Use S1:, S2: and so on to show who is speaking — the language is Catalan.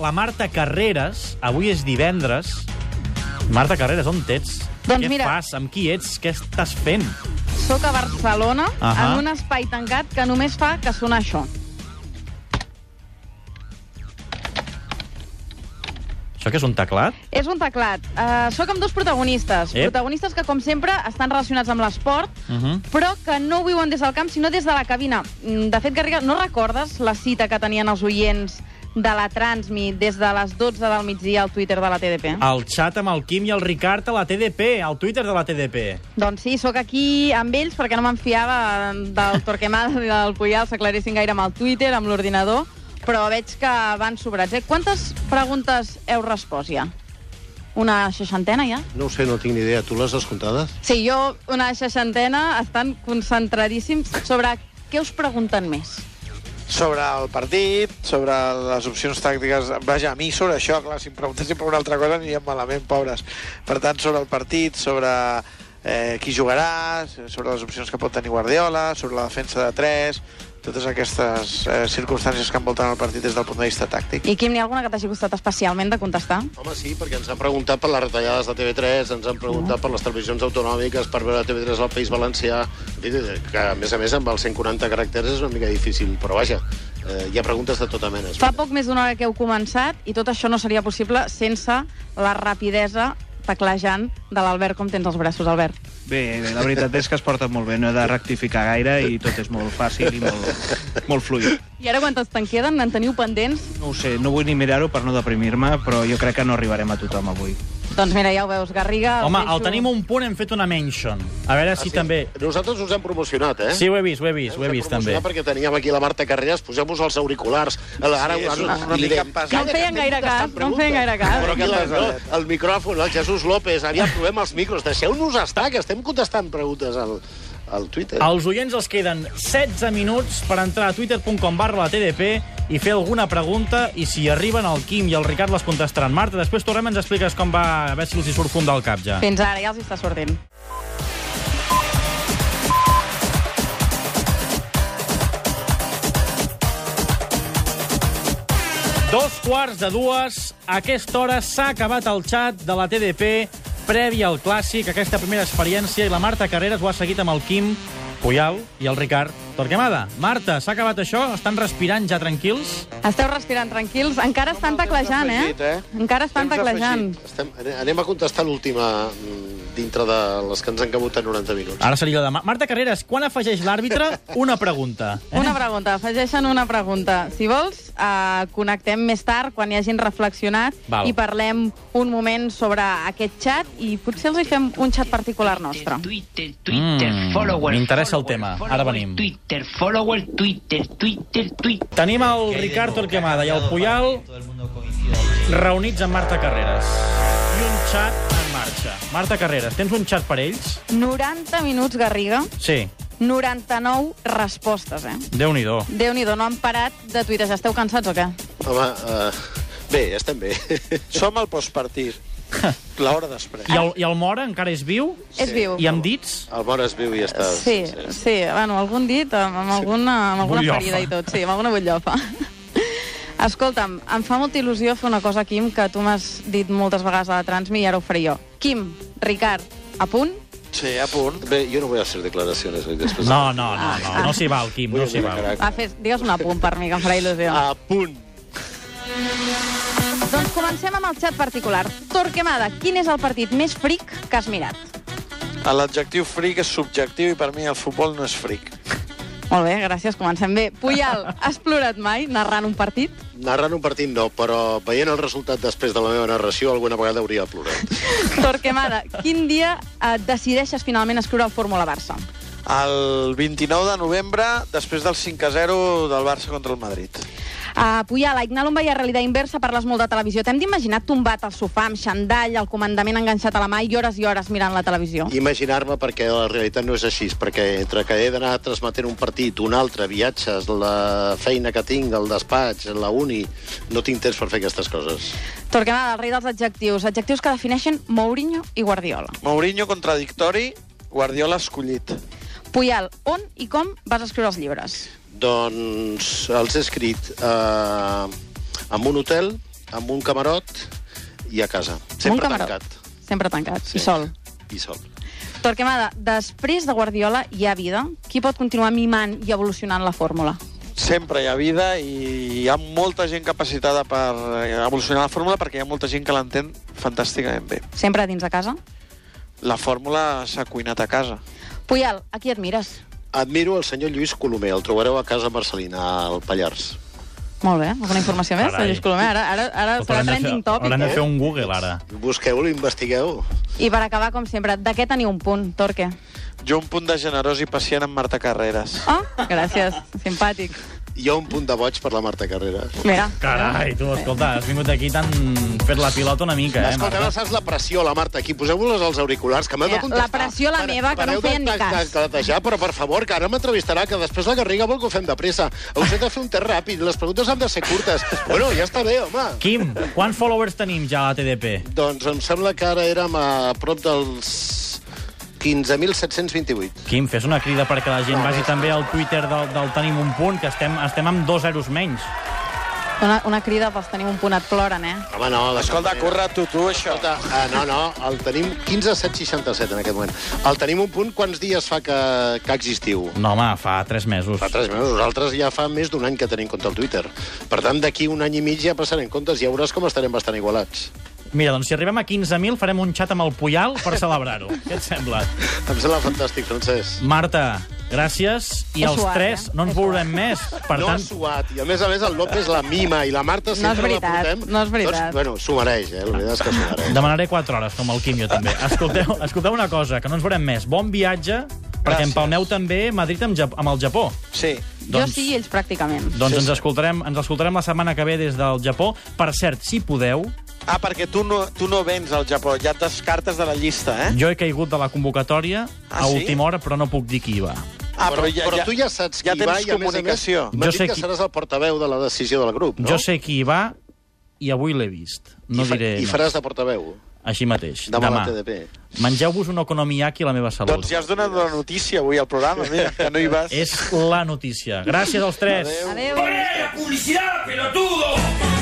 S1: la Marta Carreras, avui és divendres. Marta Carreras, on ets?
S2: Doncs
S1: Què
S2: mira-
S1: fas? Amb qui ets? Què estàs fent?
S2: Soc a Barcelona,
S1: Ahà.
S2: en un espai tancat que només fa que sonar això.
S1: Això que és un teclat?
S2: És un teclat. Uh, soc amb dos protagonistes.
S1: Ep.
S2: Protagonistes que, com sempre, estan relacionats amb l'esport,
S1: Uh -huh.
S2: però que no ho viuen des del camp, sinó des de la cabina. Mm, De fet, Garriga, no recordes la cita que tenien els oients de la Transmi des de les 12 del migdia al Twitter de la TDP?
S1: El xat amb el Quim i el Ricard a la TDP, al Twitter de la TDP.
S2: Doncs sí, sóc aquí amb ells perquè no me'n fiava del Torquemada i del Puyal, s'aclaressin gaire amb el Twitter, amb l'ordinador, però veig que van sobrats. Eh? Quantes preguntes heu respost ja? Una seixantena ja?
S3: No ho sé, no tinc ni idea. Tu les has comptades?
S2: Sí, jo una seixantena, estan concentradíssims sobre què us pregunten més.
S4: Sobre el partit, sobre les opcions tàctiques... Vaja, a mi sobre això, clar, si em preguntessin per una altra cosa aniríem malament, pobres. Per tant, sobre el partit, sobre eh, qui jugarà, sobre les opcions que pot tenir Guardiola, sobre la defensa de 3, totes aquestes eh, circumstàncies que envolten el partit des del punt de vista tàctic.
S2: I Quim, n'hi ha alguna que t'hagi costat especialment de contestar?
S3: Home, sí, perquè ens han preguntat per les retallades de TV3, ens han preguntat per les televisions autonòmiques, per veure TV3 al País Valencià, que a més a més amb els 140 caràcters és una mica difícil, però vaja, eh, hi ha preguntes de tota mena.
S2: Fa poc més d'una hora que heu començat i tot això no seria possible sense la rapidesa teclejant de l'Albert com tens els braços, Albert.
S5: Bé, bé, la veritat és que es porta molt bé, no he de rectificar gaire i tot és molt fàcil i molt, molt fluid.
S2: I ara quantes te'n queden? En teniu pendents?
S5: No ho sé, no vull ni mirar-ho per no deprimir-me, però jo crec que no arribarem a tothom avui.
S2: Doncs mira, ja ho veus, Garriga...
S1: Home, el tenim un punt, hem fet una mention. A veure si també...
S3: Nosaltres us hem promocionat, Ah, eh?
S1: Sí, ho he vist, ho he vist, ho he vist, també.
S3: Perquè teníem aquí la Marta Carreras, posem-vos els auriculars. Ara,
S4: Sí, és
S3: ara-
S4: una mica
S3: dèiem,
S4: pesat.
S2: No en feien gaire cas, no en feien gaire cas.
S3: Però que no, el micròfon, el Jesús López, aviam, provem els micros, deixeu-nos estar, que estem contestant preguntes al, al Twitter.
S1: Als oients els queden 16 minuts per entrar a twitter.com barra la TDP i fer alguna pregunta, i si arriben el Quim i el Ricard les contestaran. Marta, després tornem i ens expliques com va, a veure si els hi surt fum del cap ja.
S2: Fins ara, ja els hi està sortint.
S1: Dos quarts de dues, a aquesta hora s'ha acabat el xat de la TDP prèvia al Clàssic, aquesta primera experiència, i la Marta Carreras ho ha seguit amb el Quim Puyal i el Ricard Torquemada. Marta, s'ha acabat això? Estan respirant ja tranquils?
S2: Esteu respirant tranquils. Encara estan
S4: Home, el temps
S2: teclejant, eh?
S4: afegit, eh?
S2: Encara estan
S4: Temps
S2: teclejant.
S4: afegit.
S3: Estem, anem a contestar l'última mm, dintre de les que ens han cabut a 90 minuts.
S1: Ara seria la de... Ma- Marta Carreras, quan afegeix l'àrbitre? Una pregunta.
S2: Una pregunta, afegeixen una pregunta. Si vols, eh, connectem més tard, quan hi hagin reflexionat,
S1: Val.
S2: i parlem un moment sobre aquest xat i potser els hi fem un xat particular nostre.
S6: Twitter, Twitter,
S1: Mm,
S6: follower.
S1: m'interessa el tema.
S6: follower,
S1: Ara
S6: follower,
S1: venim.
S6: Twitter, follower, Twitter, Twitter, Twitter.
S1: Tenim el Ricard Torquemada i el Puyal reunits amb Marta Carreras. I un xat en marxa. Marta Carreras, tens un xat per ells?
S2: 90 minuts, Garriga,
S1: Sí,
S2: 99 respostes, eh?
S1: déu nhi
S2: Déu-n'hi-do, no han parat de tuitejar. Esteu cansats o què?
S3: Home, uh, bé, estem bé.
S4: Som al postpartit, l'hora després.
S1: I el, I el Mora encara és viu?
S2: És viu.
S1: I amb dits?
S3: El Mora es viu i està...
S2: Sí, sí, bueno, algun dit, amb, amb alguna, amb alguna
S1: Butllofa.
S2: ferida i tot, sí, amb alguna butllofa. Escolta'm, em fa molta il·lusió fer una cosa, Quim, que tu m'has dit moltes vegades a la Transmi i ara ho faré jo. Kim, Ricard, a punt?
S4: Sí, a punt.
S3: Bé, jo no vull fer declaracions oi, després.
S1: No, no, no, no, no s'hi val, Quim, no
S3: Vull
S1: s'hi
S3: una
S1: val.
S3: carac-
S2: Va, Ah, fes, digues un a punt per mi, que em farà il·lusió.
S3: A punt.
S2: Doncs comencem amb el xat particular. Torquemada, quin és el partit més fric que has mirat?
S4: L'adjectiu fric és subjectiu i per mi el futbol no és fric.
S2: Molt bé, gràcies, comencem bé. Puyal, has plorat mai narrant un partit?
S3: Narrant un partit no, però veient el resultat després de la meva narració, alguna vegada hauria plorat.
S2: Torquemada, quin dia eh, decideixes finalment escriure el Fórmula Barça?
S4: El 29 de novembre, després del 5-0 del Barça contra el Madrid.
S2: Uh, Puyal, a Ignalum veia realitat inversa, parles molt de televisió. T'hem d'imaginar tombat al sofà amb xandall, el comandament enganxat a la mà i hores i hores mirant la televisió.
S3: Imaginar-me perquè la realitat no és així, perquè entre que he d'anar transmetent un partit, un altre, viatges, la feina que tinc, el despatx, la uni, no tinc temps per fer aquestes coses.
S2: Torquemada, el rei dels adjectius. Adjectius que defineixen Mourinho i Guardiola.
S4: Mourinho contradictori, Guardiola escollit.
S2: Puyal, on i com vas escriure els llibres?
S3: Doncs els he escrit eh, en un hotel, amb un camarot i a casa.
S2: Amb un
S3: Sempre
S2: camarot.
S3: tancat.
S2: Sempre tancat, sí.
S3: Sí.
S2: i sol.
S3: I sol.
S2: Torquemada, després de Guardiola hi ha vida. Qui pot continuar mimant i evolucionant la fórmula?
S4: Sempre hi ha vida i hi ha molta gent capacitada per eh, evolucionar la fórmula perquè hi ha molta gent que l'entén fantàsticament bé.
S2: Sempre dins de casa?
S4: La fórmula s'ha cuinat a casa.
S2: Puyal, a qui et mires?
S3: Admiro el senyor Lluís Colomer, el trobareu a casa Marcelina, al Pallars.
S2: Molt bé, alguna informació més?
S1: Carai.
S2: Carai. Colomer, ara, ara, ara
S1: Tot
S2: serà
S1: hauran de fer-
S2: trending topic.
S1: Hauran de
S2: eh?
S1: fer un Google, ara.
S3: Busqueu-lo, investigueu.
S2: I per acabar, com sempre, de què teniu un punt, Torque?
S4: Jo un punt de generós i pacient amb Marta Carreras.
S2: Oh, gràcies, simpàtic.
S3: Hi ha un punt de boig per la Marta Carrera.
S2: Mira.
S1: Carai, tu, escolta, has vingut aquí tan... fet la pilota una mica, eh,
S3: Escolta,
S1: Marta?
S3: no saps la pressió, la Marta, aquí. Poseu-vos els auriculars, que m'heu de
S2: Mira,
S3: contestar.
S2: la pressió, la meva, que no em feien ni cas.
S3: Deixar, però, per favor, que ara m'entrevistarà, que després la Garriga vol que ho fem de pressa. Us he de fer un test ràpid, les preguntes han de ser curtes. Bueno, ja està bé, home.
S1: Quim, quants followers tenim ja a la TDP?
S3: Doncs em sembla que ara érem a prop dels 15.728.
S1: Quim, fes una crida perquè la gent vagi també al Twitter del, del Tenim un punt, que estem, estem amb dos zeros menys.
S2: Una, una crida pels tenim un punt, et ploren, eh?
S3: Home, no, de cap
S4: Escolta,
S3: manera.
S4: corre tu, tu, això.
S3: Escolta, ah, no, no, el tenim 15.767 en aquest moment. El tenim un punt, quants dies fa que, que existiu?
S1: No, home, fa tres mesos.
S3: Fa tres mesos. Nosaltres ja fa més d'un any que tenim compte al Twitter. Per tant, d'aquí un any i mig ja passarem comptes i ja veuràs com estarem bastant igualats.
S1: Mira, doncs si arribem a 15.000 farem un xat amb el Puyal per celebrar-ho. Què et sembla?
S3: Em sembla fantàstic, Francesc.
S1: Marta, gràcies. I
S2: He
S1: els
S2: suat,
S1: tres
S2: eh?
S1: no ens
S2: He suat.
S1: veurem més. Per
S3: no
S1: tant,
S3: ha suat, i a més a més el López la mima, i la Marta sempre
S2: veritat,
S3: la portem.
S2: no és veritat.
S3: Tots, bueno, s'ho mereix, eh? La veritat és que s'ho mereix.
S1: demanaré quatre hores, com el Quim jo també. Escolteu, escolteu una cosa, que no ens veurem més. Bon viatge, perquè
S4: Gràcies.
S1: empalmeu també Madrid amb, Jap amb el Japó.
S4: Sí.
S2: Jo
S1: Doncs-
S2: sí, ells pràcticament.
S1: Doncs
S4: Sí,
S1: ens
S4: sí.
S1: escoltarem, ens escoltarem la setmana que ve des del Japó. Per cert, si podeu,
S4: Ah, perquè tu no, tu no vens al Japó, ja et descartes de la llista, eh?
S1: jo he caigut de la convocatòria a
S4: Ah, sí?
S1: última hora, però no puc dir qui hi va.
S4: Ah,
S3: però, però tu ja saps qui
S4: ja
S3: hi va
S4: tens
S3: i, a més a més,
S4: comunicació.
S1: Jo
S3: m'han dit
S1: sé
S3: que
S1: qui-
S3: seràs el portaveu de la decisió del grup, no?
S1: Jo sé qui hi va i avui l'he vist. No
S3: I, fa,
S1: diré...
S3: I faràs de portaveu.
S1: Així mateix.
S3: Demà,
S1: Demà.
S3: a la TDP.
S1: Mengeu-vos un okonomiyaki a la meva salut.
S4: Doncs ja has donat la notícia avui al programa, mira, que no hi vas.
S1: És la notícia. Gràcies als tres.
S2: Adéu.
S7: ¡Poné la publicidad, pelotudo!